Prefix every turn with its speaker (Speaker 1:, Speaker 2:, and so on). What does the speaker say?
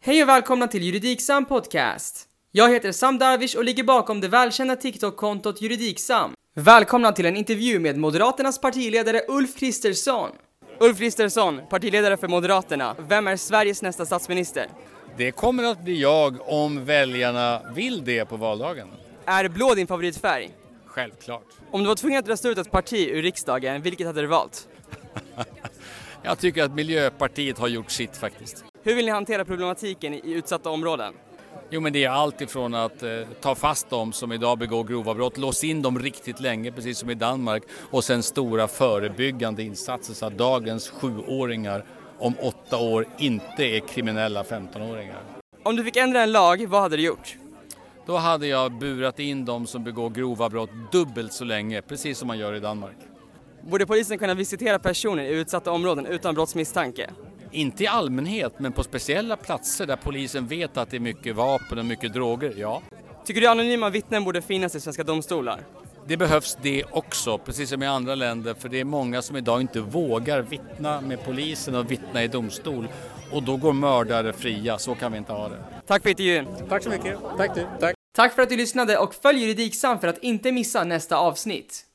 Speaker 1: Hej och välkomna till Juridiksam Podcast! Jag heter Sam Darwish och ligger bakom det välkända TikTok-kontot Juridiksam. Välkomna till en intervju med Moderaternas partiledare Ulf Kristersson. Ulf Kristersson, partiledare för Moderaterna. Vem är Sveriges nästa statsminister?
Speaker 2: Det kommer att bli jag om väljarna vill det på valdagen.
Speaker 1: Är blå din favoritfärg?
Speaker 2: Självklart.
Speaker 1: Om du var tvungen att rösta ut ett parti ur riksdagen, vilket hade du valt?
Speaker 2: Jag tycker att Miljöpartiet har gjort sitt faktiskt.
Speaker 1: Hur vill ni hantera problematiken i utsatta områden?
Speaker 2: Jo men det är allt ifrån att eh, ta fast dem som idag begår grova brott, lås in dem riktigt länge precis som i Danmark och sen stora förebyggande insatser så att dagens sjuåringar om åtta år inte är kriminella 15-åringar.
Speaker 1: Om du fick ändra en lag, vad hade du gjort?
Speaker 2: Då hade jag burat in dem som begår grova brott dubbelt så länge, precis som man gör i Danmark.
Speaker 1: Borde polisen kunna visitera personer i utsatta områden utan brottsmisstanke?
Speaker 2: Inte i allmänhet, men på speciella platser där polisen vet att det är mycket vapen och mycket droger, ja.
Speaker 1: Tycker du anonyma vittnen borde finnas i svenska domstolar?
Speaker 2: Det behövs det också, precis som i andra länder, för det är många som idag inte vågar vittna med polisen och vittna i domstol. Och då går mördare fria, så kan vi inte ha det.
Speaker 1: Tack för intervjun!
Speaker 3: Tack så mycket. Tack du. Tack.
Speaker 1: Tack för att du lyssnade och följ Juridiksam för att inte missa nästa avsnitt.